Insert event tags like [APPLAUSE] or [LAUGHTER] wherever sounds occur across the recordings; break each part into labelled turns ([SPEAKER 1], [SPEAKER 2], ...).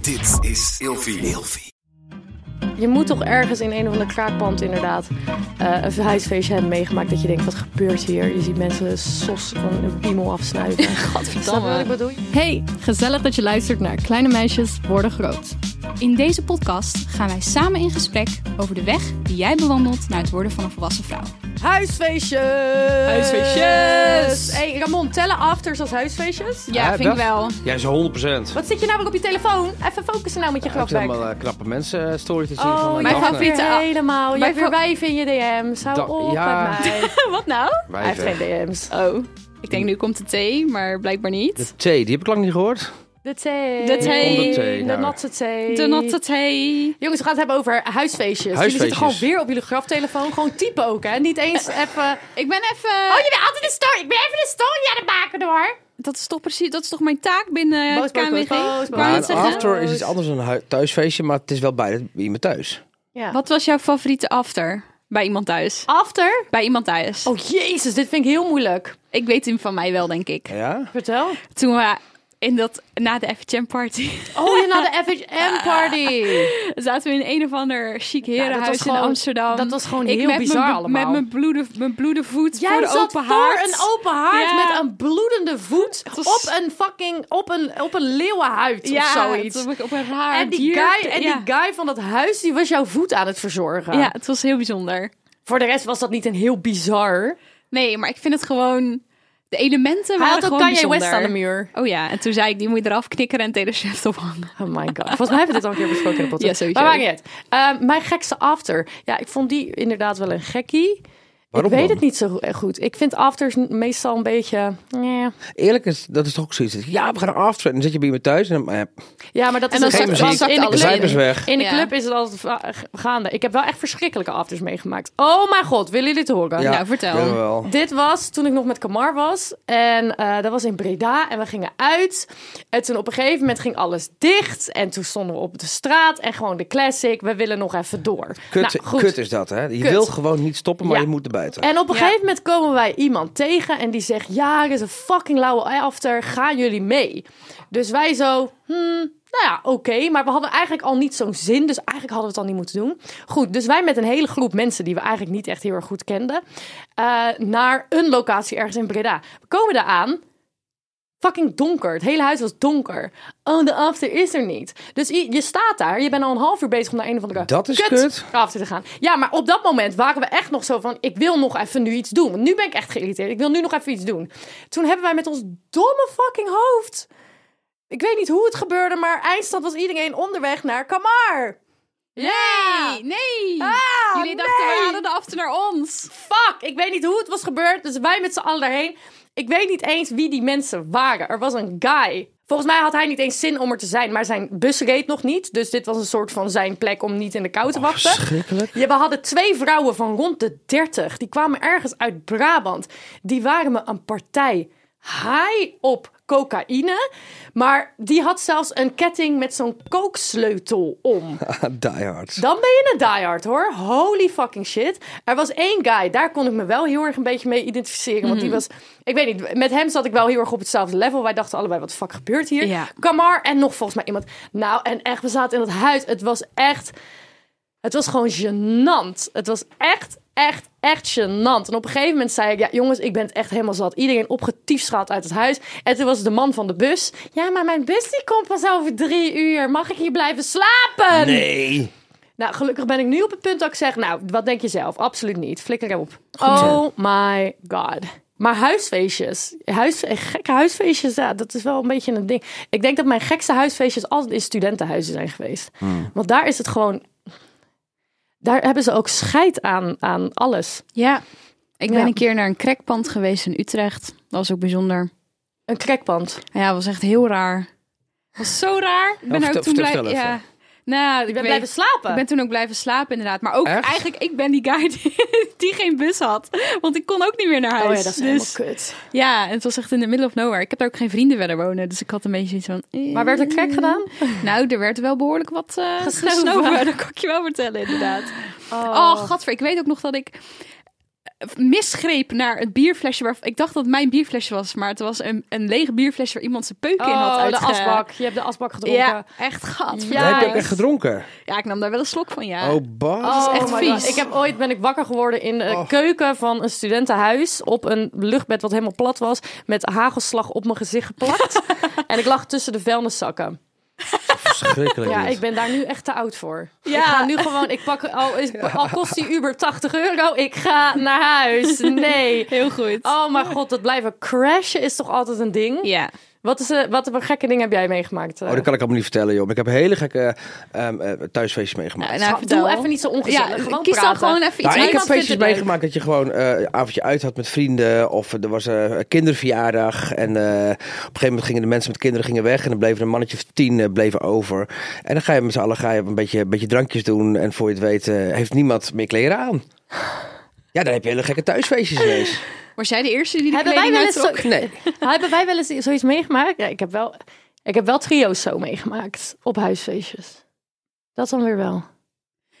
[SPEAKER 1] Dit is Ilfie.
[SPEAKER 2] Je moet toch ergens in een of ander kraakpand inderdaad eh, een huisfeestje hebben meegemaakt. Dat je denkt, wat gebeurt hier? Je ziet mensen sos van een piemel afsnuiten. [LAUGHS] Snap je wat ik bedoel?
[SPEAKER 3] Hey, gezellig dat je luistert naar Kleine Meisjes Worden Groot.
[SPEAKER 4] In deze podcast gaan wij samen in gesprek over de weg die jij bewandelt naar het worden van een volwassen vrouw.
[SPEAKER 2] Huisfeestjes!
[SPEAKER 3] Huisfeestjes!
[SPEAKER 2] hey, Ramon, tellen afters als huisfeestjes?
[SPEAKER 4] Ja, vind ik wel.
[SPEAKER 5] Ja, zo 100%.
[SPEAKER 2] Wat zit je nou weer op je telefoon? Even focussen nou met je
[SPEAKER 5] Ik heb
[SPEAKER 2] grapwerk.
[SPEAKER 5] helemaal eh, knappe mensen eh, story te zien
[SPEAKER 2] Oh,
[SPEAKER 5] van
[SPEAKER 2] je
[SPEAKER 5] mijn
[SPEAKER 2] gaat
[SPEAKER 5] Daphne.
[SPEAKER 2] weer
[SPEAKER 4] favoriete-
[SPEAKER 2] helemaal. Je
[SPEAKER 4] Mijn
[SPEAKER 2] hebt weer
[SPEAKER 4] fa-
[SPEAKER 2] wijven in je DM's. Hou
[SPEAKER 5] Da-
[SPEAKER 2] op
[SPEAKER 5] ja.
[SPEAKER 2] met mij.
[SPEAKER 4] Wat nou?
[SPEAKER 5] Wijven.
[SPEAKER 2] Hij heeft geen DM's.
[SPEAKER 4] Oh, ik denk nu komt de thee, maar blijkbaar niet.
[SPEAKER 5] De T, die heb ik lang niet gehoord.
[SPEAKER 2] De thee.
[SPEAKER 4] De thee.
[SPEAKER 5] Onder thee,
[SPEAKER 2] De
[SPEAKER 5] nou.
[SPEAKER 2] natte thee.
[SPEAKER 4] De natte thee.
[SPEAKER 2] Jongens, we gaan het hebben over huisfeestjes. Jullie zitten gewoon
[SPEAKER 5] Huisfeestjes.
[SPEAKER 2] weer op jullie graftelefoon. Gewoon typen ook, hè? Niet
[SPEAKER 4] [LAUGHS]
[SPEAKER 2] eens even...
[SPEAKER 4] Ik ben even...
[SPEAKER 2] Oh, je bent altijd een story. Ik ben even een story aan het maken, hoor.
[SPEAKER 4] Dat is toch precies, dat is toch mijn taak binnen
[SPEAKER 2] Boos, boos,
[SPEAKER 4] KNWG?
[SPEAKER 2] boos, boos,
[SPEAKER 4] Wou
[SPEAKER 2] boos.
[SPEAKER 4] je
[SPEAKER 5] Maar
[SPEAKER 4] het
[SPEAKER 5] een
[SPEAKER 4] zeggen?
[SPEAKER 5] after is iets anders dan een hui- thuisfeestje, maar het is wel bij iemand thuis.
[SPEAKER 2] Ja.
[SPEAKER 4] Wat was jouw favoriete after? Bij iemand thuis.
[SPEAKER 2] After?
[SPEAKER 4] Bij iemand thuis.
[SPEAKER 2] Ah. Oh, jezus. Dit vind ik heel moeilijk.
[SPEAKER 4] Ik weet hem van mij wel, denk ik.
[SPEAKER 5] Ja?
[SPEAKER 2] Vertel.
[SPEAKER 4] Toen we in dat, na de FHM party
[SPEAKER 2] Oh, je naar de
[SPEAKER 4] Ah.
[SPEAKER 2] FHM party.
[SPEAKER 4] zaten we in een of ander chic
[SPEAKER 2] dat was
[SPEAKER 4] herenhuis
[SPEAKER 2] gewoon-
[SPEAKER 4] in Amsterdam.
[SPEAKER 2] dat was gewoon
[SPEAKER 4] ik
[SPEAKER 2] heel
[SPEAKER 4] met
[SPEAKER 2] bizar
[SPEAKER 4] mijn,
[SPEAKER 2] allemaal.
[SPEAKER 4] Met mijn bloede, mijn bloede voet
[SPEAKER 2] Jij
[SPEAKER 4] voor de
[SPEAKER 2] zat
[SPEAKER 4] open
[SPEAKER 2] voor
[SPEAKER 4] haard.
[SPEAKER 2] een open haard
[SPEAKER 4] Ja.
[SPEAKER 2] met een bloedende voet
[SPEAKER 4] was-
[SPEAKER 2] op een fucking... op een, op een leeuwenhuid
[SPEAKER 4] ja,
[SPEAKER 2] of zoiets.
[SPEAKER 4] toen heb ik op een raar
[SPEAKER 2] En die,
[SPEAKER 4] dier-
[SPEAKER 2] guy, en
[SPEAKER 4] ja.
[SPEAKER 2] die guy van dat huis, die was jouw voet aan het verzorgen.
[SPEAKER 4] Ja, het was heel bijzonder.
[SPEAKER 2] Voor de rest was dat niet een heel bizar.
[SPEAKER 4] Nee, maar ik vind het gewoon... De elementen
[SPEAKER 2] Hij
[SPEAKER 4] waren
[SPEAKER 2] had ook
[SPEAKER 4] gewoon
[SPEAKER 2] Kanye
[SPEAKER 4] bijzonder.
[SPEAKER 2] West aan de muur.
[SPEAKER 4] Oh ja, en toen zei ik, die moet je eraf knikkeren en Taylor Swift ophangen.
[SPEAKER 2] Oh my god. Volgens mij hebben we dit al een keer besproken in de podcast.
[SPEAKER 4] Ja, sowieso.
[SPEAKER 2] Maar maakt niet uit. Ehm, mijn gekste after. Ja, ik vond die inderdaad wel een gekkie.
[SPEAKER 5] Waarom
[SPEAKER 2] ik weet
[SPEAKER 5] dan?
[SPEAKER 2] het niet zo go- goed. Ik vind afters n- meestal een beetje... eh.
[SPEAKER 5] Eerlijk is, dat is toch ook zoiets. Ja, we gaan een after. En dan zit je bij iemand thuis en dan... eh,
[SPEAKER 2] Ja, maar dat
[SPEAKER 4] En
[SPEAKER 2] is
[SPEAKER 4] dan
[SPEAKER 2] een soort-
[SPEAKER 4] zakt- dan
[SPEAKER 2] want
[SPEAKER 4] zakt
[SPEAKER 2] in de
[SPEAKER 4] alle
[SPEAKER 2] club-
[SPEAKER 5] zuip is weg.
[SPEAKER 2] In de
[SPEAKER 4] Ja.
[SPEAKER 2] club is het altijd va- gaande. Ik heb wel echt verschrikkelijke afters meegemaakt. Oh mijn god, willen jullie dit horen?
[SPEAKER 5] ja,
[SPEAKER 4] nou, vertel.
[SPEAKER 5] willen we wel.
[SPEAKER 2] Dit was toen ik nog met Kamar was. En eh, dat was in Breda. En we gingen uit. En toen op een gegeven moment ging alles dicht. En toen stonden we op de straat. En gewoon de classic. We willen nog even door.
[SPEAKER 5] Kut,
[SPEAKER 2] Nou, goed.
[SPEAKER 5] kut is dat, hè? Je
[SPEAKER 2] Kut.
[SPEAKER 5] wil gewoon niet stoppen, maar
[SPEAKER 2] Ja.
[SPEAKER 5] je moet er buiten.
[SPEAKER 2] En op een
[SPEAKER 4] Ja.
[SPEAKER 2] gegeven moment komen wij iemand tegen. En die zegt, ja, er is een fucking lauwe after. Gaan jullie mee? Dus wij zo, hmm, nou ja, oké. Maar we hadden eigenlijk al niet zo'n zin. Dus eigenlijk hadden we het al niet moeten doen. Goed, dus wij met een hele groep mensen die we eigenlijk niet echt heel erg goed kenden. eh, naar een locatie ergens in Breda. We komen daar aan. Fucking donker. Het hele huis was donker. Oh, de after is er niet. Dus i- je staat daar. Je bent al een half uur bezig om naar een of andere
[SPEAKER 5] Dat is kut.
[SPEAKER 2] after te gaan. Ja, maar op dat moment waren we echt nog zo van... ik wil nog even nu iets doen. Want nu ben ik echt geïrriteerd. Ik wil nu nog even iets doen. Toen hebben wij met ons domme fucking hoofd... Ik weet niet hoe het gebeurde, maar eindstand was iedereen onderweg naar Kamar.
[SPEAKER 4] Nee, nee.
[SPEAKER 2] Ah,
[SPEAKER 4] Jullie dachten, we
[SPEAKER 2] nee.
[SPEAKER 4] hadden de after naar ons.
[SPEAKER 2] Fuck, ik weet niet hoe het was gebeurd. Dus wij met z'n allen daarheen. Ik weet niet eens wie die mensen waren. Er was een guy. Volgens mij had hij niet eens zin om er te zijn, maar zijn bus reed nog niet. Dus dit was een soort van zijn plek om niet in de kou te wachten.
[SPEAKER 5] Verschrikkelijk.
[SPEAKER 2] Ja, we hadden twee vrouwen van rond de 30. Die kwamen ergens uit Brabant. Die waren me een partij high op cocaïne. Maar die had zelfs een ketting met zo'n kooksleutel om.
[SPEAKER 5] [LAUGHS] Die hard.
[SPEAKER 2] Dan ben je een diehard hoor. Holy fucking shit. Er was één guy, daar kon ik me wel heel erg een beetje mee identificeren. Want die was, ik weet niet, met hem zat ik wel heel erg op hetzelfde level. Wij dachten allebei, wat de fuck gebeurt hier?
[SPEAKER 4] Ja.
[SPEAKER 2] Kamar en nog volgens mij iemand. Nou, en echt, we zaten in dat huis. Het was echt, het was gewoon gênant. Het was echt, echt, echt gênant. En op een gegeven moment zei ik, ja jongens, ik ben het echt helemaal zat. Iedereen opgetiefschaald uit het huis. En toen was de man van de bus. Ja, maar mijn bus die komt pas over drie uur. Mag ik hier blijven slapen?
[SPEAKER 5] Nee.
[SPEAKER 2] Nou, gelukkig ben ik nu op het punt dat ik zeg, nou, wat denk je zelf? Absoluut niet. Flikker hem op. oh my god. Maar huisfeestjes, huis, gekke huisfeestjes, ja, dat is wel een beetje een ding. Ik denk dat mijn gekste huisfeestjes altijd in studentenhuizen zijn geweest. Want daar is het gewoon, daar hebben ze ook scheid aan, aan alles.
[SPEAKER 4] Ja, ik ben
[SPEAKER 2] Ja.
[SPEAKER 4] een keer naar een crackpand geweest in Utrecht. Dat was ook bijzonder.
[SPEAKER 2] Een krekpand.
[SPEAKER 4] Ja, dat was echt heel raar. was zo raar. Ik ben
[SPEAKER 5] Nou, vertel-
[SPEAKER 4] ook toen
[SPEAKER 5] vertel
[SPEAKER 4] blij-
[SPEAKER 5] even.
[SPEAKER 4] Ja. Nou, ik
[SPEAKER 2] Ik ben
[SPEAKER 4] weet-
[SPEAKER 2] blijven slapen.
[SPEAKER 4] ik ben toen ook blijven slapen inderdaad. Maar ook
[SPEAKER 5] Echt?
[SPEAKER 4] eigenlijk, ik ben die guy die, [LAUGHS] die geen bus had. Want ik kon ook niet meer naar huis.
[SPEAKER 2] Oh ja, dat is
[SPEAKER 4] dus,
[SPEAKER 2] helemaal kut.
[SPEAKER 4] Ja, en het was echt in de middle of nowhere. Ik heb daar ook geen vrienden verder wonen. Dus ik had een beetje zoiets van... eh.
[SPEAKER 2] Maar werd er krek
[SPEAKER 4] [LAUGHS]
[SPEAKER 2] gedaan?
[SPEAKER 4] Nou, er werd wel behoorlijk wat eh
[SPEAKER 2] Gesnoven. Oh.
[SPEAKER 4] Oh, gesnoven. Dat kan ik je wel vertellen inderdaad. Oh, gadver. Ik weet ook nog dat ik misgreep naar het bierflesje waar ik dacht dat het mijn bierflesje was, maar het was een, een leeg bierflesje waar iemand zijn peuk in had
[SPEAKER 2] Oh,
[SPEAKER 4] uit
[SPEAKER 2] de asbak. Je hebt de asbak gedronken.
[SPEAKER 4] Ja, echt gat.
[SPEAKER 2] Ja.
[SPEAKER 5] Heb je ook echt gedronken?
[SPEAKER 4] Ja, ik nam daar wel een slok van, ja.
[SPEAKER 5] Oh, Bas.
[SPEAKER 4] is echt
[SPEAKER 2] my
[SPEAKER 4] vies. Oh.
[SPEAKER 2] God. Ik heb ooit ben ik wakker geworden in de
[SPEAKER 5] Och.
[SPEAKER 2] keuken van een studentenhuis op een luchtbed wat helemaal plat was met hagelslag op mijn gezicht
[SPEAKER 4] [LAUGHS]
[SPEAKER 2] geplakt en ik lag tussen de vuilniszakken.
[SPEAKER 5] Verschrikkelijk.
[SPEAKER 2] Ja,
[SPEAKER 5] dit.
[SPEAKER 2] ik ben daar nu echt te oud voor.
[SPEAKER 4] Ja.
[SPEAKER 2] Ik ga nu gewoon, ik pak al, is, al kost die Uber 80 euro, ik ga naar huis. Nee.
[SPEAKER 4] Heel goed.
[SPEAKER 2] Oh mijn god, dat blijven crashen is toch altijd een ding.
[SPEAKER 4] Ja.
[SPEAKER 2] Wat is eh, wat voor gekke ding heb jij meegemaakt? eh?
[SPEAKER 5] Oh, dat kan ik allemaal niet vertellen, joh. Maar Ik heb hele gekke ehm eh, thuisfeestjes meegemaakt.
[SPEAKER 4] Nou,
[SPEAKER 2] Schat,
[SPEAKER 4] vertel.
[SPEAKER 2] Doe even niet zo ongezellig.
[SPEAKER 4] Ja,
[SPEAKER 2] gewoon
[SPEAKER 4] kies dan
[SPEAKER 2] praten.
[SPEAKER 4] gewoon even iets
[SPEAKER 5] Nou, ik heb
[SPEAKER 4] leuks.
[SPEAKER 5] feestjes
[SPEAKER 2] vindt het leuk.
[SPEAKER 5] meegemaakt dat je gewoon eh, een avondje uit had met vrienden. Of eh, er was eh, een kinderverjaardag. En eh, op een gegeven moment gingen de mensen met kinderen gingen weg. En dan bleven een mannetje of tien eh, bleven over. En dan ga je met z'n allen ga je een, beetje, een beetje drankjes doen. En voor je het weet eh, heeft niemand meer kleren aan. Ja, dan heb je hele gekke thuisfeestjes ineens.
[SPEAKER 4] Was jij de eerste die de
[SPEAKER 2] Hebben wij
[SPEAKER 4] kleding
[SPEAKER 2] wel eens
[SPEAKER 4] uittrok?
[SPEAKER 5] Nee.
[SPEAKER 2] [LAUGHS] Hebben wij wel eens zoiets meegemaakt? Ja, ik heb wel, ik heb wel trio's zo meegemaakt op huisfeestjes. Dat dan weer wel.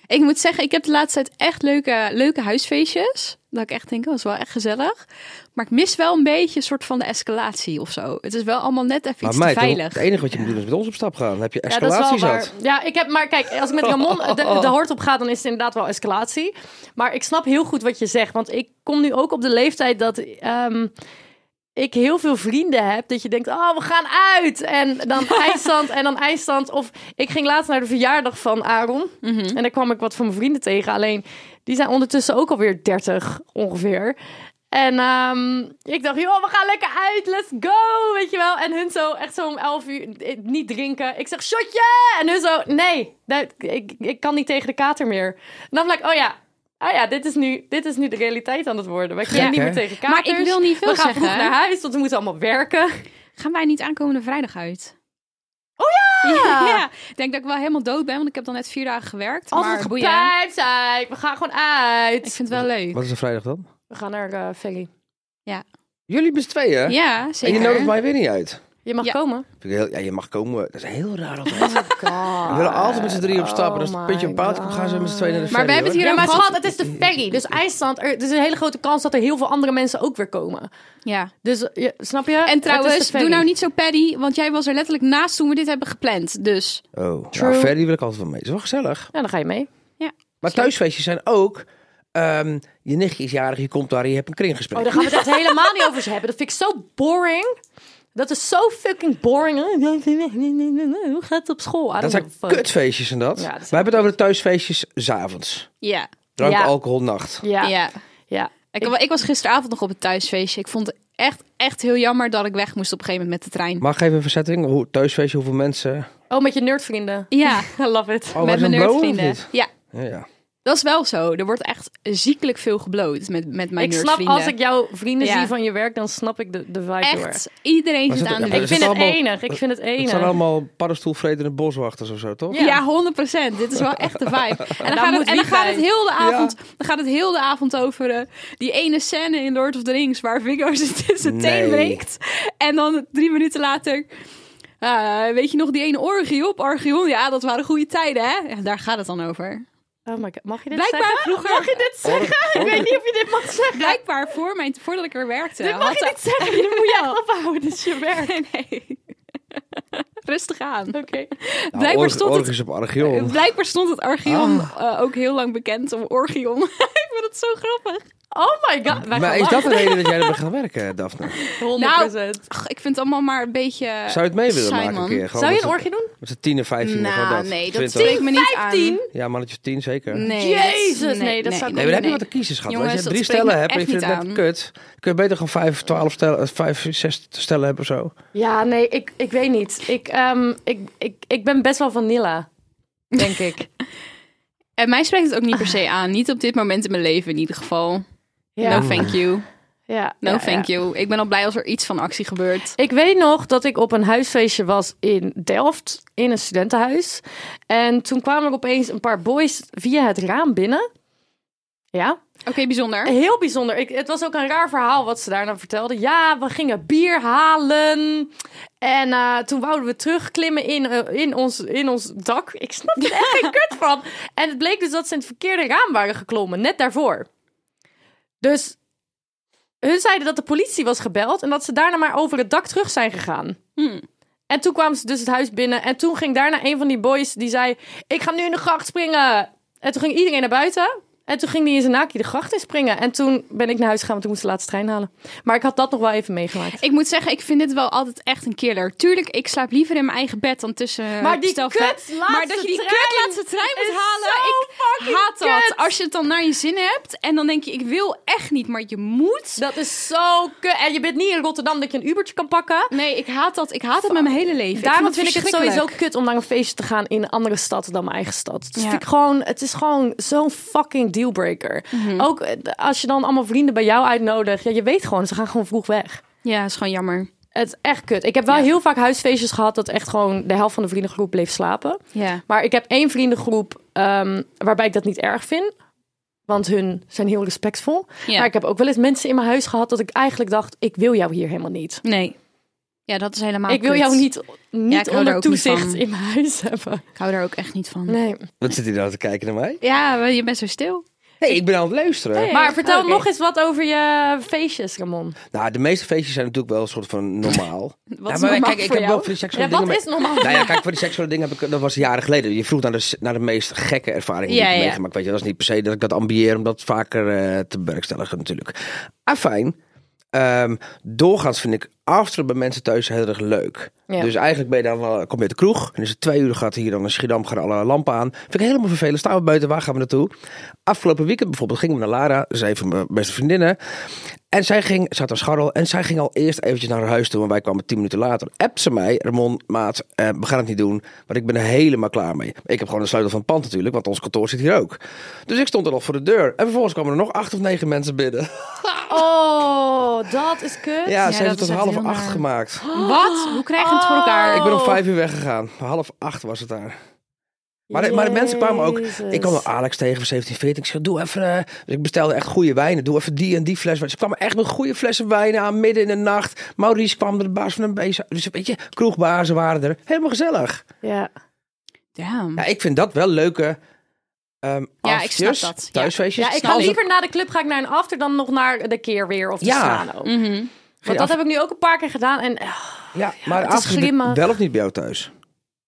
[SPEAKER 4] Ik moet zeggen, ik heb de laatste tijd echt leuke, leuke huisfeestjes. Dat ik echt denk, oh, dat is wel echt gezellig. Maar ik mis wel een beetje een soort van de escalatie of zo. Het is wel allemaal net even iets
[SPEAKER 5] maar
[SPEAKER 4] te
[SPEAKER 5] meid,
[SPEAKER 4] veilig.
[SPEAKER 5] het enige wat je moet doen is met ons op stap gaan. Dan heb je
[SPEAKER 2] Ja, dat is wel
[SPEAKER 5] escalatie
[SPEAKER 2] waar.
[SPEAKER 5] zat.
[SPEAKER 2] Ja, ik heb, maar kijk, als ik met [LAUGHS] Ramon de, de hort op ga, dan is het inderdaad wel escalatie. Maar ik snap heel goed wat je zegt, want ik kom nu ook op de leeftijd dat ehm, ik heel veel vrienden heb. Dat je denkt, oh, we gaan uit. En
[SPEAKER 4] [LAUGHS]
[SPEAKER 2] dan IJsland en dan IJsland. Of ik ging laatst naar de verjaardag van Aaron.
[SPEAKER 4] Mhm.
[SPEAKER 2] En daar kwam ik wat van mijn vrienden tegen. Alleen, die zijn ondertussen ook alweer 30 ongeveer. En ehm, ik dacht, joh, we gaan lekker uit, let's go, weet je wel. En hun zo, echt zo om 11 uur, eh, niet drinken. Ik zeg, shotje! En hun zo, nee, dat, ik, ik kan niet tegen de kater meer. En dan ben ik, oh ja, oh ja dit, is nu, dit is nu de realiteit aan het worden. Wij kunnen
[SPEAKER 5] Gek,
[SPEAKER 2] niet meer
[SPEAKER 5] hè?
[SPEAKER 2] tegen katers.
[SPEAKER 4] Maar ik wil niet veel
[SPEAKER 2] We gaan
[SPEAKER 4] zeggen,
[SPEAKER 2] vroeg
[SPEAKER 4] hè?
[SPEAKER 2] naar huis, want we moeten allemaal werken.
[SPEAKER 4] Gaan wij niet aankomende vrijdag
[SPEAKER 2] [LAUGHS]
[SPEAKER 4] uit?
[SPEAKER 2] Ja,
[SPEAKER 4] [LAUGHS] Ja, ik denk dat ik wel helemaal dood ben, want ik heb dan net vier dagen gewerkt.
[SPEAKER 2] altijd
[SPEAKER 4] maar boeien.
[SPEAKER 2] gepijpt, zei ik. We gaan gewoon uit.
[SPEAKER 4] Ik vind het wel leuk.
[SPEAKER 5] Wat is er vrijdag dan?
[SPEAKER 2] We gaan naar eh Ferry.
[SPEAKER 5] Jullie met z'n tweeën?
[SPEAKER 4] Ja,
[SPEAKER 5] en je
[SPEAKER 4] zeker.
[SPEAKER 5] nodigt mij weer niet uit.
[SPEAKER 2] Je mag
[SPEAKER 4] Ja.
[SPEAKER 2] komen.
[SPEAKER 5] Vind ik heel- ja, je mag komen. Dat is heel
[SPEAKER 2] [LAUGHS]
[SPEAKER 5] raar altijd.
[SPEAKER 2] God.
[SPEAKER 5] We willen altijd met z'n drieën op stap. En als het
[SPEAKER 2] Ah. Oh
[SPEAKER 5] een beetje op
[SPEAKER 2] my
[SPEAKER 5] paard komt, gaan ze met z'n tweeën naar de
[SPEAKER 4] Maar we
[SPEAKER 5] ferry,
[SPEAKER 4] hebben het hier
[SPEAKER 2] Ja,
[SPEAKER 4] ook
[SPEAKER 2] maar
[SPEAKER 4] gehad.
[SPEAKER 2] schat, het is de ferry. Dus IJsland, er, er is een hele grote kans dat er heel veel andere mensen ook weer komen.
[SPEAKER 4] Ja.
[SPEAKER 2] Dus, eh, je, snap je?
[SPEAKER 4] En
[SPEAKER 2] Het is
[SPEAKER 4] trouwens,
[SPEAKER 2] de ferry.
[SPEAKER 4] doe nou niet zo paddy, want jij was er letterlijk naast toen we dit hebben gepland. Dus
[SPEAKER 5] hoor. Oh,
[SPEAKER 2] True.
[SPEAKER 5] nou, ferry wil ik altijd wel mee. Het is wel gezellig.
[SPEAKER 2] Ja, dan ga je mee.
[SPEAKER 5] Maar thuisfeestjes zijn ook... ehm, je nichtje is jarig, je komt daar en je hebt een kringgesprek.
[SPEAKER 2] Oh, daar gaan we het echt helemaal niet over hebben. Dat vind ik zo boring. Dat is zo fucking boring. Hoe gaat het op school? I
[SPEAKER 5] dat
[SPEAKER 2] don't
[SPEAKER 5] zijn
[SPEAKER 2] give a fuck.
[SPEAKER 5] kutfeestjes en dat.
[SPEAKER 2] Ja, dat
[SPEAKER 5] we
[SPEAKER 2] zijn-
[SPEAKER 5] hebben het over de thuisfeestjes s'avonds.
[SPEAKER 4] ja.
[SPEAKER 5] Drank,
[SPEAKER 2] Ja.
[SPEAKER 5] alcohol, nacht.
[SPEAKER 2] Ja, ja.
[SPEAKER 4] ja. Ik, ik was gisteravond nog op het thuisfeestje. Ik vond het echt, echt heel jammer dat ik weg moest op een gegeven moment met de trein.
[SPEAKER 5] Mag ik even een verzetting? Hoe, thuisfeestje, hoeveel mensen?
[SPEAKER 2] Oh, met je nerdvrienden.
[SPEAKER 4] [LAUGHS] Ja,
[SPEAKER 2] I love it.
[SPEAKER 5] Oh,
[SPEAKER 4] met
[SPEAKER 5] was
[SPEAKER 4] mijn
[SPEAKER 5] een blow of
[SPEAKER 4] nerdvrienden.
[SPEAKER 5] niet?
[SPEAKER 4] Ja,
[SPEAKER 5] Ja, ja.
[SPEAKER 4] dat is wel zo. Er wordt echt ziekelijk veel gebloot met, met mijn
[SPEAKER 2] ik snap,
[SPEAKER 4] nerdvrienden.
[SPEAKER 2] als ik jouw vrienden
[SPEAKER 4] Ja.
[SPEAKER 2] zie van je werk, dan snap ik de, de vibe heel erg.
[SPEAKER 4] Echt, iedereen
[SPEAKER 5] Maar
[SPEAKER 4] zit
[SPEAKER 5] zit-
[SPEAKER 4] aan de
[SPEAKER 5] ja, maar
[SPEAKER 2] Ik
[SPEAKER 4] wieg.
[SPEAKER 5] is
[SPEAKER 2] vind het
[SPEAKER 5] allemaal-
[SPEAKER 2] enig. Ik vind het
[SPEAKER 5] Het
[SPEAKER 2] enig.
[SPEAKER 5] zijn allemaal paddenstoelvredende boswachters of zo, toch?
[SPEAKER 2] Ja.
[SPEAKER 4] Ja, 100%. Dit is wel echt de vibe.
[SPEAKER 2] [LAUGHS]
[SPEAKER 4] En dan,
[SPEAKER 2] Daar
[SPEAKER 4] gaat,
[SPEAKER 2] moet
[SPEAKER 4] het, en
[SPEAKER 2] wie
[SPEAKER 4] dan gaat het
[SPEAKER 2] bij.
[SPEAKER 4] heel de avond, dan gaat het heel de avond over eh, die ene scène in Lord of the Rings waar Viggo [LAUGHS] zijn zijn teen
[SPEAKER 5] Nee.
[SPEAKER 4] breekt. En dan drie minuten later, eh, weet je nog die ene orgie op Archeon? Ja, dat waren goede tijden, hè? Ja, daar gaat het dan over.
[SPEAKER 2] Oh my god, mag je dit
[SPEAKER 4] Blijkbaar
[SPEAKER 2] zeggen?
[SPEAKER 4] vroeger-
[SPEAKER 2] Mag je
[SPEAKER 5] Oh,
[SPEAKER 2] dit [LAUGHS] zeggen? Ik weet niet of je dit mag zeggen.
[SPEAKER 4] Blijkbaar voor mijn, voordat ik er werkte.
[SPEAKER 2] Dit mag
[SPEAKER 4] had-
[SPEAKER 2] je niet zeggen, dit [LAUGHS] moet je echt ophouden. Dit is je werk.
[SPEAKER 4] Nee, [LAUGHS] nee. Rustig aan.
[SPEAKER 2] Oké.
[SPEAKER 5] Nou,
[SPEAKER 4] blijkbaar
[SPEAKER 5] org-
[SPEAKER 4] stond het-
[SPEAKER 5] orgies op
[SPEAKER 2] [LAUGHS]
[SPEAKER 5] Archeon.
[SPEAKER 4] Blijkbaar stond het Archeon
[SPEAKER 5] Ah.
[SPEAKER 4] eh, ook heel lang bekend om Orgion. [LAUGHS] ik vind het zo grappig.
[SPEAKER 2] Oh my god. Wij
[SPEAKER 5] Maar
[SPEAKER 2] gaan
[SPEAKER 5] is dat
[SPEAKER 2] lachen.
[SPEAKER 5] de reden dat jij erbij gaat werken, Daphne?
[SPEAKER 2] Nou, 100%.
[SPEAKER 4] Ach, ik vind het allemaal maar een beetje...
[SPEAKER 5] Zou je het mee willen
[SPEAKER 4] Eh, Simon.
[SPEAKER 5] maken een keer? Gewoon
[SPEAKER 2] Zou je
[SPEAKER 5] met
[SPEAKER 2] een
[SPEAKER 5] z'n-
[SPEAKER 2] orgie doen?
[SPEAKER 5] Met z'n tien en vijftien. gewoon
[SPEAKER 4] Nou,
[SPEAKER 5] dat.
[SPEAKER 4] nee, dat
[SPEAKER 5] 20.
[SPEAKER 4] spreekt me niet aan.
[SPEAKER 2] 15?
[SPEAKER 5] Ja, mannetje of tien zeker.
[SPEAKER 4] Nee,
[SPEAKER 2] Jezus,
[SPEAKER 4] dat is-
[SPEAKER 2] nee, dat zou ik
[SPEAKER 5] Nee, maar dan heb je wat te kiezen, schat.
[SPEAKER 4] Jongens,
[SPEAKER 5] Als je
[SPEAKER 4] dat
[SPEAKER 5] drie
[SPEAKER 4] spreekt
[SPEAKER 5] stellen
[SPEAKER 4] me
[SPEAKER 5] hebt en je
[SPEAKER 4] echt
[SPEAKER 5] vindt het
[SPEAKER 4] niet
[SPEAKER 5] net
[SPEAKER 4] aan.
[SPEAKER 5] kut, kun je beter gewoon vijf, twaalf stellen, eh, vijf, zes stellen hebben of zo.
[SPEAKER 2] Ja, nee, ik, ik weet niet. Ik, ehm, ik, ik, ik ben best wel vanilla, denk ik.
[SPEAKER 4] En mij spreekt het ook niet per se aan. Niet op dit moment in mijn leven in ieder
[SPEAKER 2] [LAUGHS]
[SPEAKER 4] geval.
[SPEAKER 2] Ja.
[SPEAKER 4] No thank you.
[SPEAKER 2] Ja,
[SPEAKER 4] No
[SPEAKER 2] ja, ja.
[SPEAKER 4] thank you. Ik ben al blij als er iets van actie gebeurt.
[SPEAKER 2] Ik weet nog dat ik op een huisfeestje was in Delft, in een studentenhuis. En toen kwamen er opeens een paar boys via het raam binnen. Ja,
[SPEAKER 4] Oké, bijzonder.
[SPEAKER 2] Heel bijzonder. Ik, het was ook een raar verhaal wat ze daarna vertelden. Ja, we gingen bier halen. En eh, toen wouden we terugklimmen in, eh, in, ons, in ons dak. Ik snap er echt geen kut van. En het bleek dus dat ze in het verkeerde raam waren geklommen, net daarvoor. Dus hun zeiden dat de politie was gebeld en dat ze daarna maar over het dak terug zijn gegaan.
[SPEAKER 4] Hmm.
[SPEAKER 2] En toen kwamen ze dus het huis binnen. En toen ging daarna een van die boys die zei: Ik ga nu in de gracht springen. En toen ging iedereen naar buiten. En toen ging die in zijn naakje de gracht in springen. En toen ben ik naar huis gegaan, want ik moest de laatste trein halen. Maar ik had dat nog wel even meegemaakt.
[SPEAKER 4] Ik moet zeggen, ik vind dit wel altijd echt een killer. Tuurlijk, ik slaap liever in mijn eigen bed dan tussen...
[SPEAKER 2] Maar die
[SPEAKER 4] stel-
[SPEAKER 2] kut laatste
[SPEAKER 4] Maar dat je die
[SPEAKER 2] trein
[SPEAKER 4] kut laatste trein moet
[SPEAKER 2] is
[SPEAKER 4] halen,
[SPEAKER 2] zo
[SPEAKER 4] ik haat dat. Als je het dan naar je zin hebt en dan denk je, ik wil echt niet, maar je moet.
[SPEAKER 2] Dat is zo kut. En je bent niet in Rotterdam dat je een Ubertje kan pakken.
[SPEAKER 4] Nee, ik haat dat. Ik haat dat met mijn hele leven.
[SPEAKER 2] Daarom vind ik
[SPEAKER 4] dat
[SPEAKER 2] het sowieso kut om naar een feestje te gaan in een andere stad dan mijn eigen stad. Dat
[SPEAKER 4] Ja.
[SPEAKER 2] vind ik gewoon, het is gewoon zo'n fucking dealbreaker.
[SPEAKER 4] Mhm.
[SPEAKER 2] Ook eh, d- als je dan allemaal vrienden bij jou uitnodigt. Ja, je weet gewoon, ze gaan gewoon vroeg weg.
[SPEAKER 4] Ja, is gewoon jammer.
[SPEAKER 2] Het is echt kut. Ik heb wel heel vaak huisfeestjes gehad dat echt gewoon de helft van de vriendengroep bleef slapen.
[SPEAKER 4] Ja.
[SPEAKER 2] Maar ik heb één vriendengroep ehm, waarbij ik dat niet erg vind. Want hun zijn heel respectvol.
[SPEAKER 4] Ja.
[SPEAKER 2] Maar ik heb ook wel eens mensen in mijn huis gehad dat ik eigenlijk dacht, ik wil jou hier helemaal niet.
[SPEAKER 4] Nee. Ja, dat is helemaal
[SPEAKER 2] ik wil
[SPEAKER 4] Ah, kut.
[SPEAKER 2] jou niet, niet
[SPEAKER 4] ik hou
[SPEAKER 2] onder
[SPEAKER 4] daar ook niet
[SPEAKER 2] toezicht
[SPEAKER 4] van.
[SPEAKER 2] in mijn huis hebben.
[SPEAKER 4] Ik hou daar ook echt niet van.
[SPEAKER 2] Nee.
[SPEAKER 5] Wat zit hij nou te kijken naar mij?
[SPEAKER 4] Ja, je bent zo stil.
[SPEAKER 5] hey, ik ben aan het luisteren.
[SPEAKER 2] Maar vertel
[SPEAKER 4] Oh, oké.
[SPEAKER 2] nog eens wat over je feestjes, Ramon.
[SPEAKER 5] Nou, de meeste feestjes zijn natuurlijk wel een soort van normaal. Ja, maar
[SPEAKER 2] normaal
[SPEAKER 5] kijk,
[SPEAKER 2] voor
[SPEAKER 5] ik heb
[SPEAKER 2] jou?
[SPEAKER 5] wel voor die seksuele
[SPEAKER 2] Ja, wat
[SPEAKER 5] dingen...
[SPEAKER 2] is normaal?
[SPEAKER 5] Nou ja, kijk, voor die seksuele dingen heb ik... Dat was jaren geleden. Je vroeg naar de, s- naar de meest gekke ervaringen die
[SPEAKER 4] Ja,
[SPEAKER 5] ik heb
[SPEAKER 4] ja.
[SPEAKER 5] meegemaakt. Weet je, dat is niet per se dat ik dat ambieer om dat vaker eh, te bewerkstelligen natuurlijk. Ah, Afijn, Ehm doorgaans vind ik afteren bij mensen thuis heel erg leuk.
[SPEAKER 2] Ja.
[SPEAKER 5] Dus eigenlijk ben je dan wel, kom je uit de kroeg. En is het twee uur gaat hier dan in Schiedam gaan alle lampen aan. Vind ik helemaal vervelend. Staan we buiten, waar gaan we naartoe? Afgelopen weekend bijvoorbeeld gingen we naar Lara. Zij van mijn beste vriendinnen. En zij ging, zat aan scharrel. En zij ging al eerst eventjes naar haar huis toe. En wij kwamen tien minuten later. Appt ze mij, Ramon, maat, eh, we gaan het niet doen. Maar ik ben er helemaal klaar mee. Ik heb gewoon de sleutel van het pand natuurlijk. Want ons kantoor zit hier ook. Dus ik stond er al voor de deur. En vervolgens kwamen er nog acht of negen mensen binnen.
[SPEAKER 2] Oh, dat is kut.
[SPEAKER 5] Ja,
[SPEAKER 4] Ja,
[SPEAKER 5] ze heeft het
[SPEAKER 4] dat
[SPEAKER 5] tot
[SPEAKER 4] is echt
[SPEAKER 5] half
[SPEAKER 4] heel
[SPEAKER 5] acht
[SPEAKER 4] naar.
[SPEAKER 5] gemaakt.
[SPEAKER 4] Wat? Hoe krijgen we het voor elkaar?
[SPEAKER 5] Ik ben om
[SPEAKER 2] Oh.
[SPEAKER 5] vijf uur weggegaan. Half acht was het daar. Maar de, maar de mensen kwamen ook. Ik kwam wel Alex tegen van 17, 14. Ik zei, doe even... eh, Dus ik bestelde echt goede wijnen. Doe even die en die fles. wijn. Ze kwamen echt met goede flessen wijn aan midden in de nacht. Maurice kwam er, de baas van een beest. Dus weet je, kroegbazen waren er. Helemaal gezellig.
[SPEAKER 2] Ja.
[SPEAKER 4] Damn.
[SPEAKER 5] Ja, ik vind dat wel leuke... ehm
[SPEAKER 4] Ja, ik snap
[SPEAKER 5] aftertjes,
[SPEAKER 4] dat. Ja.
[SPEAKER 5] Thuisfeestjes.
[SPEAKER 2] ja, ik ga
[SPEAKER 5] Als het-
[SPEAKER 2] liever naar de club ga ik naar een after dan nog naar de keer weer of de
[SPEAKER 5] Ja. Mm.
[SPEAKER 2] Scano.
[SPEAKER 4] Mhm.
[SPEAKER 2] Want dat heb ik nu ook een paar keer gedaan. En eh,
[SPEAKER 5] Ja, maar
[SPEAKER 2] het is
[SPEAKER 5] afters
[SPEAKER 2] grimmig.
[SPEAKER 5] wel of niet bij jou thuis?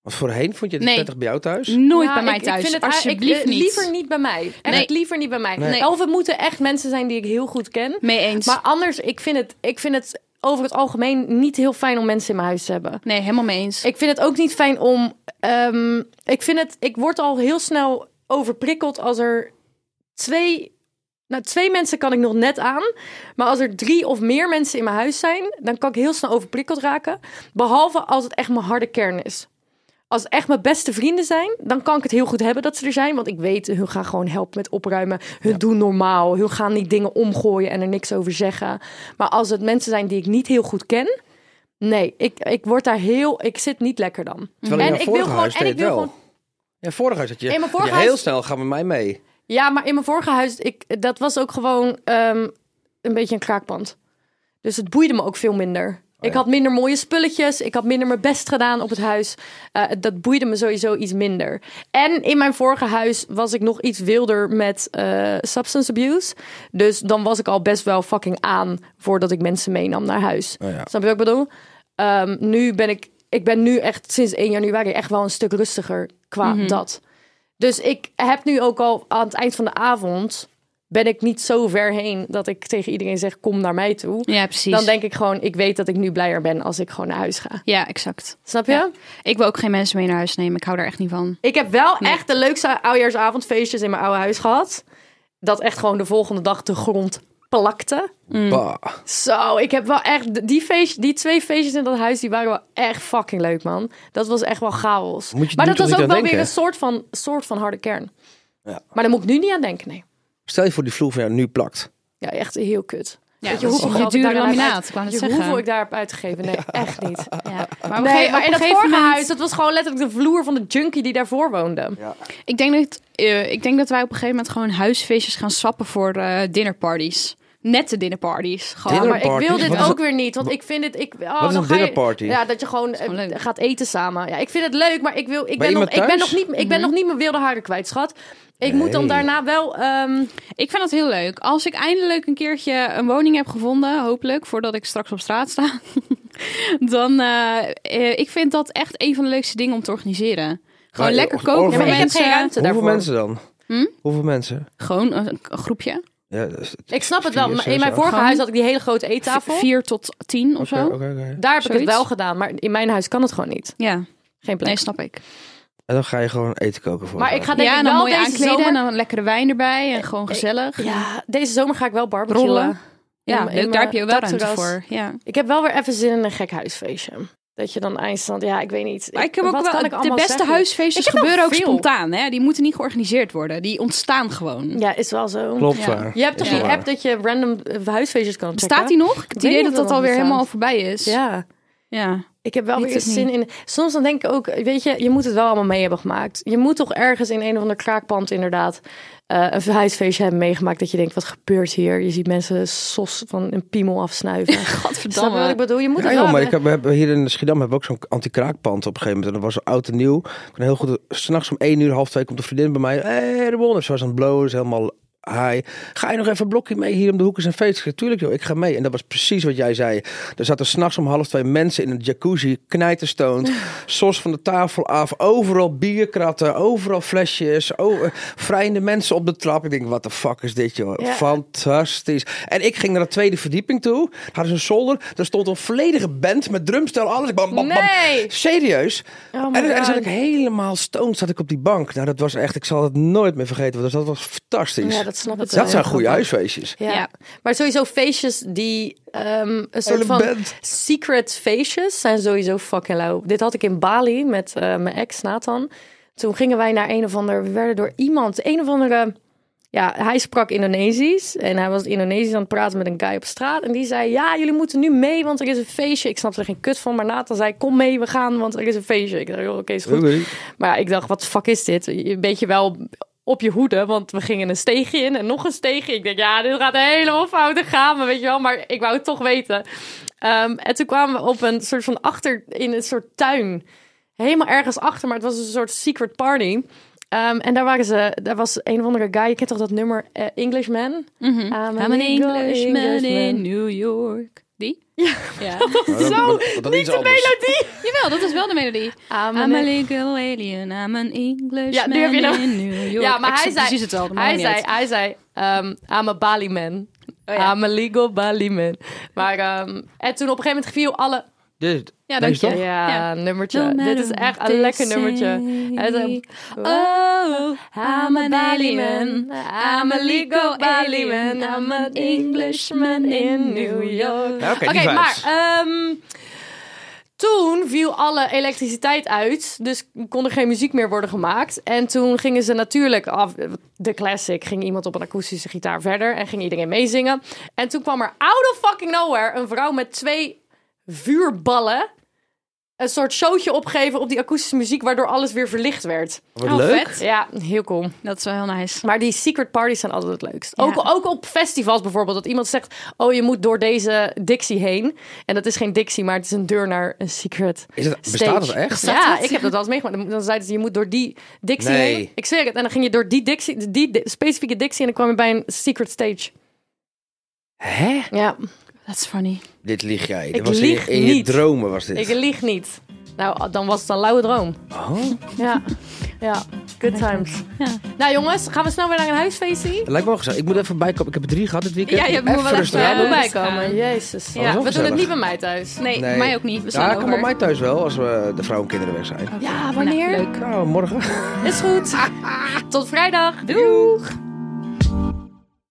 [SPEAKER 5] Want voorheen vond je het
[SPEAKER 4] Nee.
[SPEAKER 5] prettig bij jou thuis?
[SPEAKER 4] Nooit
[SPEAKER 2] ja,
[SPEAKER 4] bij mij
[SPEAKER 2] ik-
[SPEAKER 4] thuis.
[SPEAKER 2] Ik vind het
[SPEAKER 4] Alsjeblieft
[SPEAKER 2] ik, eh,
[SPEAKER 4] niet.
[SPEAKER 2] liever niet bij mij. Echt
[SPEAKER 4] Nee.
[SPEAKER 2] liever niet bij mij.
[SPEAKER 5] Nee.
[SPEAKER 2] Of het moeten echt mensen zijn die ik heel goed ken.
[SPEAKER 4] Mee eens.
[SPEAKER 2] Maar anders, ik vind, het, ik vind het over het algemeen niet heel fijn om mensen in mijn huis te hebben.
[SPEAKER 4] nee, helemaal mee eens.
[SPEAKER 2] Ik vind het ook niet fijn om. ehm, ik vind het. Ik word al heel snel overprikkeld als er twee. Nou, twee mensen kan ik nog net aan. Maar als er drie of meer mensen in mijn huis zijn, dan kan ik heel snel overprikkeld raken. Behalve als het echt mijn harde kern is. Als het echt mijn beste vrienden zijn, dan kan ik het heel goed hebben dat ze er zijn. Want ik weet, hun gaan gewoon helpen met opruimen. Hun doen normaal. Hun gaan niet dingen omgooien en er niks over zeggen. Maar als het mensen zijn die ik niet heel goed ken. Nee, ik, ik word daar heel. Ik zit niet lekker dan.
[SPEAKER 5] Terwijl in
[SPEAKER 2] En
[SPEAKER 5] jouw
[SPEAKER 2] ik wil
[SPEAKER 5] vorige
[SPEAKER 2] gewoon-
[SPEAKER 5] huis
[SPEAKER 2] en
[SPEAKER 5] deed
[SPEAKER 2] ik
[SPEAKER 5] het
[SPEAKER 2] wil
[SPEAKER 5] wel.
[SPEAKER 2] gewoon-
[SPEAKER 5] Ja, vorig huis had je,
[SPEAKER 2] In mijn vorig
[SPEAKER 5] je
[SPEAKER 2] huis-
[SPEAKER 5] heel snel gaan we mij mee.
[SPEAKER 2] Ja, maar in mijn vorige huis, ik, dat was ook gewoon ehm, een beetje een kraakpand. Dus het boeide me ook veel minder. Ik had minder mooie spulletjes. Ik had minder mijn best gedaan op het huis. Eh, dat boeide me sowieso iets minder. En in mijn vorige huis was ik nog iets wilder met eh, substance abuse. Dus dan was ik al best wel fucking aan voordat ik mensen meenam naar huis.
[SPEAKER 5] ja.
[SPEAKER 2] Snap je wat ik bedoel? Ehm, nu ben ik, ik ben nu echt sinds 1 januari echt wel een stuk rustiger qua dat. Dus ik heb nu ook al aan het eind van de avond ben ik niet zo ver heen dat ik tegen iedereen zeg kom naar mij toe.
[SPEAKER 4] Ja, precies.
[SPEAKER 2] Dan denk ik gewoon, ik weet dat ik nu blijer ben als ik gewoon naar huis ga.
[SPEAKER 4] Ja, exact.
[SPEAKER 2] Snap je?
[SPEAKER 4] Ja. Ik wil ook geen mensen mee naar huis nemen. Ik hou daar echt niet van.
[SPEAKER 2] Ik heb wel echt de leukste oudjaarsavondfeestjes in mijn oude huis gehad. Dat echt gewoon de volgende dag de grond plakte.
[SPEAKER 5] Bah.
[SPEAKER 2] Zo, ik heb wel echt... Die, feest, die twee feestjes in dat huis, die waren wel echt fucking leuk, man. Dat was echt wel chaos.
[SPEAKER 5] Moet je
[SPEAKER 2] maar
[SPEAKER 5] nu
[SPEAKER 2] dat was ook
[SPEAKER 5] toch niet
[SPEAKER 2] wel
[SPEAKER 5] aan denken?
[SPEAKER 2] weer een soort van, soort van harde kern.
[SPEAKER 5] Ja.
[SPEAKER 2] Maar daar moet ik nu niet aan denken, nee.
[SPEAKER 5] Stel je voor die vloer van jou nu plakt.
[SPEAKER 2] Ja, echt heel kut.
[SPEAKER 4] Ja,
[SPEAKER 2] Weet
[SPEAKER 4] dat is
[SPEAKER 2] hoeveel
[SPEAKER 4] een
[SPEAKER 2] geld ik
[SPEAKER 4] dure
[SPEAKER 2] daaraan heb
[SPEAKER 4] laminaat,
[SPEAKER 2] uit-
[SPEAKER 4] ik wou net
[SPEAKER 2] weet je
[SPEAKER 4] zeggen.
[SPEAKER 2] hoeveel ik daar heb uitgegeven? Nee, echt niet. [LAUGHS]
[SPEAKER 4] Ja. Maar, op een
[SPEAKER 2] Nee,
[SPEAKER 4] gege-
[SPEAKER 2] maar in
[SPEAKER 4] op een
[SPEAKER 2] dat
[SPEAKER 4] gegeven
[SPEAKER 2] vorige
[SPEAKER 4] moment-
[SPEAKER 2] huis, dat was gewoon letterlijk de vloer van de junkie die daarvoor woonde.
[SPEAKER 4] Ik denk, dat, eh, ik denk dat wij op een gegeven moment gewoon huisfeestjes gaan sappen voor eh dinnerparties. nette dinnerparties. Gewoon.
[SPEAKER 5] Dinner-
[SPEAKER 4] Maar
[SPEAKER 2] Maar ik wil
[SPEAKER 5] Dinnerparties?
[SPEAKER 2] dit
[SPEAKER 5] Wat is
[SPEAKER 2] ook
[SPEAKER 5] een-
[SPEAKER 2] weer niet, want ik vind dit... Ik, oh,
[SPEAKER 5] Wat is
[SPEAKER 2] dan
[SPEAKER 5] een
[SPEAKER 2] ga je-
[SPEAKER 5] dinnerparty?
[SPEAKER 2] Ja, dat je gewoon, eh,
[SPEAKER 4] gewoon leuk.
[SPEAKER 2] gaat eten samen. Ja, ik vind het leuk, maar ik, wil, ik,
[SPEAKER 5] Bij
[SPEAKER 2] ben, nog,
[SPEAKER 5] iemand
[SPEAKER 2] ik, ben, nog
[SPEAKER 5] thuis?
[SPEAKER 2] niet, ik ben nog niet mijn wilde haren kwijt, schat. Ik moet dan
[SPEAKER 5] Nee.
[SPEAKER 2] daarna wel... ehm,
[SPEAKER 4] Ik vind dat heel leuk. Als ik eindelijk een keertje een woning heb gevonden, hopelijk, voordat ik straks op straat sta, [LAUGHS] dan eh, eh, ik vind dat echt een van de leukste dingen om te organiseren. Gewoon
[SPEAKER 5] Maar,
[SPEAKER 4] lekker
[SPEAKER 5] eh,
[SPEAKER 4] koken
[SPEAKER 5] orga-
[SPEAKER 4] voor
[SPEAKER 5] Ja, maar ik heb
[SPEAKER 4] mensen.
[SPEAKER 2] geen ruimte.
[SPEAKER 5] Hoeveel
[SPEAKER 2] daarvoor.
[SPEAKER 5] mensen dan?
[SPEAKER 4] Hm?
[SPEAKER 5] Hoeveel mensen?
[SPEAKER 4] Gewoon een, een groepje.
[SPEAKER 5] Ja, dat is-
[SPEAKER 2] ik snap het wel.
[SPEAKER 5] Vier,
[SPEAKER 2] maar
[SPEAKER 5] zes,
[SPEAKER 2] In mijn
[SPEAKER 5] acht.
[SPEAKER 2] vorige
[SPEAKER 4] Gewoon-
[SPEAKER 2] huis had ik die hele grote eettafel.
[SPEAKER 4] Vier tot tien of
[SPEAKER 5] Oké,
[SPEAKER 4] zo.
[SPEAKER 5] oké, oké.
[SPEAKER 2] Daar heb ik het
[SPEAKER 4] Zoiets.
[SPEAKER 2] wel gedaan, maar in mijn huis kan het gewoon niet.
[SPEAKER 4] Ja,
[SPEAKER 2] Geen plek.
[SPEAKER 4] nee, snap ik.
[SPEAKER 5] En dan ga je gewoon eten koken voor
[SPEAKER 2] maar
[SPEAKER 5] elkaar.
[SPEAKER 2] ik ga denk
[SPEAKER 4] Ja, en
[SPEAKER 2] ik
[SPEAKER 4] dan
[SPEAKER 2] wel
[SPEAKER 4] mooi
[SPEAKER 2] deze
[SPEAKER 4] aankleden
[SPEAKER 2] zomer...
[SPEAKER 4] en dan een lekkere wijn erbij en gewoon gezellig.
[SPEAKER 2] Ja, deze zomer ga ik wel barbecuen.
[SPEAKER 4] Rollen. Ja,
[SPEAKER 2] In- in
[SPEAKER 4] leuk, daar
[SPEAKER 2] mijn
[SPEAKER 4] heb je wel ruimte
[SPEAKER 2] dakterras.
[SPEAKER 4] voor. Ja.
[SPEAKER 2] Ik heb wel weer even zin in een gek huisfeestje. Dat je dan eindstand, ja, ik weet niet.
[SPEAKER 4] Maar ik heb ook
[SPEAKER 2] wat
[SPEAKER 4] wel
[SPEAKER 2] kan ik
[SPEAKER 4] de
[SPEAKER 2] allemaal
[SPEAKER 4] beste
[SPEAKER 2] zeggen?
[SPEAKER 4] huisfeestjes
[SPEAKER 2] Ik heb wel
[SPEAKER 4] gebeuren ook
[SPEAKER 2] veel.
[SPEAKER 4] spontaan. Hè? Die moeten niet georganiseerd worden. Die ontstaan gewoon.
[SPEAKER 2] Ja, is wel zo.
[SPEAKER 5] Klopt
[SPEAKER 4] Ja.
[SPEAKER 5] waar.
[SPEAKER 2] Je hebt toch
[SPEAKER 5] Is
[SPEAKER 2] die
[SPEAKER 5] waar.
[SPEAKER 2] app dat je random eh, huisfeestjes kan checken?
[SPEAKER 4] Bestaat die nog? Ik heb het
[SPEAKER 2] weet
[SPEAKER 4] idee
[SPEAKER 2] niet
[SPEAKER 4] dat
[SPEAKER 2] of
[SPEAKER 4] dat
[SPEAKER 2] dat
[SPEAKER 4] alweer
[SPEAKER 2] nog
[SPEAKER 4] helemaal
[SPEAKER 2] bestaat.
[SPEAKER 4] voorbij is.
[SPEAKER 2] Ja.
[SPEAKER 4] ja.
[SPEAKER 2] Ik heb wel
[SPEAKER 4] Weet
[SPEAKER 2] weer
[SPEAKER 4] het
[SPEAKER 2] zin in. Soms dan denk ik ook, weet je, je moet het wel allemaal mee hebben gemaakt. Je moet toch ergens in een of ander kraakpand inderdaad eh, een huisfeestje hebben meegemaakt dat je denkt, wat gebeurt hier? Je ziet mensen sos van een piemel
[SPEAKER 4] [LAUGHS]
[SPEAKER 2] afsnuiven. Snap je wat ik
[SPEAKER 4] Godverdamme.
[SPEAKER 2] bedoel? Je moet
[SPEAKER 5] Ja,
[SPEAKER 2] het
[SPEAKER 5] joh,
[SPEAKER 2] wel.
[SPEAKER 5] maar ik
[SPEAKER 2] hebben.
[SPEAKER 5] heb, we hebben hier in Schiedam hebben we ook zo'n anti-kraakpand op een gegeven moment. En dat was oud en nieuw. Ik kon heel goed, s'nachts om 1 uur, half twee komt een vriendin bij mij. Hé, hey, Ramon. En ze was aan het blowen, is helemaal high. Ga je nog even een blokje mee hier om de hoek is een feest? Ik zei, Tuurlijk joh, ik ga mee. En dat was precies wat jij zei. Er zaten s'nachts om half twee mensen in een jacuzzi,
[SPEAKER 2] [LAUGHS]
[SPEAKER 5] knijterstoond. Sos van de tafel af, overal bierkratten, overal flesjes. o- eh, Vrijende mensen op de trap. Ik denk, wat de fuck is dit joh?
[SPEAKER 2] Ja.
[SPEAKER 5] Fantastisch. En ik ging naar de tweede verdieping toe. Hadden ze een zolder. Daar stond een volledige band met drumstel, alles. Bam, bam, bam.
[SPEAKER 2] Nee!
[SPEAKER 5] Serieus.
[SPEAKER 2] Oh
[SPEAKER 5] en,
[SPEAKER 2] my
[SPEAKER 5] dan- en dan zat
[SPEAKER 2] God.
[SPEAKER 5] ik helemaal stoned zat ik op die bank. Nou, dat was echt, ik zal het nooit meer vergeten. Want dat was fantastisch.
[SPEAKER 2] Ja,
[SPEAKER 5] dat,
[SPEAKER 2] dat snap ik wel.
[SPEAKER 5] zijn goede huisfeestjes.
[SPEAKER 2] Ja.
[SPEAKER 4] Ja.
[SPEAKER 2] maar sowieso feestjes die ehm, een soort
[SPEAKER 5] Hele
[SPEAKER 2] van
[SPEAKER 5] band.
[SPEAKER 2] secret feestjes zijn sowieso fucking lauw. Dit had ik in Bali met eh, mijn ex Nathan. Toen gingen wij naar een of ander, we werden door iemand, een of andere, ja, hij sprak Indonesisch en hij was Indonesisch aan het praten met een guy op straat en die zei, ja, jullie moeten nu mee, want er is een feestje. Ik snapte er geen kut van, maar Nathan zei, kom mee, we gaan, want er is een feestje. Ik dacht, "Joh, oké, is goed.
[SPEAKER 5] [LAUGHS] Oké.
[SPEAKER 2] Maar ja, ik dacht, wat de fuck is dit? Een beetje wel op je hoede, want we gingen een steegje in en nog een steegje. Ik dacht, ja, dit gaat helemaal fout gaan, maar weet je wel. Maar ik wou het toch weten. Ehm, en toen kwamen we op een soort van achter, in een soort tuin. Helemaal ergens achter, maar het was dus een soort secret party. Ehm, en daar waren ze, daar was een of andere guy, je kent toch dat nummer eh, Englishman?
[SPEAKER 4] Mhm.
[SPEAKER 2] Ah, maar
[SPEAKER 4] I'm an
[SPEAKER 2] die
[SPEAKER 4] Englishman in
[SPEAKER 2] Englishman.
[SPEAKER 4] New York. Die? Ja. [LAUGHS]
[SPEAKER 5] Zo, niet de melodie.
[SPEAKER 4] Jawel, dat is wel de melodie.
[SPEAKER 2] Ah, maar
[SPEAKER 4] I'm a
[SPEAKER 2] nee.
[SPEAKER 4] legal alien, I'm an Englishman
[SPEAKER 2] Ja, nu heb je hem.
[SPEAKER 4] in [LAUGHS] New York.
[SPEAKER 2] Ja, maar
[SPEAKER 4] Ik
[SPEAKER 2] hij zei-
[SPEAKER 4] snap precies hetzelfde, maar
[SPEAKER 2] Hij
[SPEAKER 4] niet
[SPEAKER 2] zei,
[SPEAKER 4] uit.
[SPEAKER 2] hij zei, ehm I'm a Bali man.
[SPEAKER 4] oh ja.
[SPEAKER 2] I'm a legal Bali man. Maar, ehm, en toen op een gegeven moment viel alle... Oh,
[SPEAKER 5] Dit,
[SPEAKER 4] Ja,
[SPEAKER 5] deze
[SPEAKER 4] dank
[SPEAKER 5] toch?
[SPEAKER 4] je.
[SPEAKER 2] Ja,
[SPEAKER 4] Ja.
[SPEAKER 2] nummertje.
[SPEAKER 4] No matter
[SPEAKER 2] Dit is echt
[SPEAKER 4] what
[SPEAKER 2] een
[SPEAKER 4] they
[SPEAKER 2] lekker nummertje.
[SPEAKER 4] say.
[SPEAKER 2] Hij zei,
[SPEAKER 4] Oh,
[SPEAKER 2] I'm a Bali man. I'm a legal Bali man. I'm an Englishman in New York.
[SPEAKER 5] Ja, Oké,
[SPEAKER 2] Oké,
[SPEAKER 5] die vibes.
[SPEAKER 2] maar ehm, toen viel alle elektriciteit uit. Dus kon er geen muziek meer worden gemaakt. En toen gingen ze natuurlijk af. De classic ging iemand op een akoestische gitaar verder. En ging iedereen meezingen. En toen kwam er out of fucking nowhere een vrouw met twee vuurballen. Een soort showtje opgeven op die akoestische muziek, waardoor alles weer verlicht werd.
[SPEAKER 5] Wat
[SPEAKER 4] Oh,
[SPEAKER 5] leuk.
[SPEAKER 4] vet.
[SPEAKER 2] Ja, heel cool.
[SPEAKER 4] Dat is wel heel nice.
[SPEAKER 2] Maar die secret parties zijn altijd het leukst.
[SPEAKER 4] Ja.
[SPEAKER 2] Ook, ook op festivals bijvoorbeeld. Dat iemand zegt, oh je moet door deze Dixie heen. En dat is geen Dixie, maar het is een deur naar een secret
[SPEAKER 5] Is dat,
[SPEAKER 2] stage.
[SPEAKER 5] bestaat dat echt?
[SPEAKER 2] Ja, ik heb dat wel eens meegemaakt. Dan- Dan zeiden ze, je moet door die Dixie
[SPEAKER 5] Nee.
[SPEAKER 2] heen. Ik zeg het. En dan ging je door die Dixie, die, di- specifieke Dixie. En dan kwam je bij een secret stage.
[SPEAKER 5] Hè?
[SPEAKER 2] Ja,
[SPEAKER 4] Dat is funny.
[SPEAKER 5] Dit lieg jij. Dit
[SPEAKER 2] Ik
[SPEAKER 5] was in je-
[SPEAKER 2] lieg
[SPEAKER 5] in, je
[SPEAKER 2] niet.
[SPEAKER 5] dromen was dit.
[SPEAKER 2] ik lieg niet. Nou, dan was het een lauwe droom.
[SPEAKER 5] Oh.
[SPEAKER 2] Ja, ja. Good times.
[SPEAKER 4] Ja.
[SPEAKER 2] Nou jongens, gaan we snel weer naar een huisfeestje?
[SPEAKER 5] Het lijkt me wel gezellig. Ik moet even bijkomen. Ik heb er drie gehad dit weekend.
[SPEAKER 4] Ja, je moet wel even,
[SPEAKER 5] rustig
[SPEAKER 4] eh,
[SPEAKER 5] aan doen.
[SPEAKER 4] moet
[SPEAKER 2] erbij
[SPEAKER 4] bij
[SPEAKER 2] komen.
[SPEAKER 4] komen.
[SPEAKER 2] Jezus.
[SPEAKER 5] was
[SPEAKER 2] Ja,
[SPEAKER 5] ook
[SPEAKER 2] we doen het
[SPEAKER 5] gezellig.
[SPEAKER 2] niet bij mij thuis.
[SPEAKER 4] Nee,
[SPEAKER 5] Nee.
[SPEAKER 4] mij ook niet. We staan
[SPEAKER 5] Ja, kom bij
[SPEAKER 4] over.
[SPEAKER 5] mij thuis wel, als we de vrouw en kinderen weg zijn.
[SPEAKER 2] Ja,
[SPEAKER 4] Nou,
[SPEAKER 2] wanneer?
[SPEAKER 4] leuk.
[SPEAKER 5] Nou, morgen.
[SPEAKER 2] Is goed. Tot vrijdag. Doeg.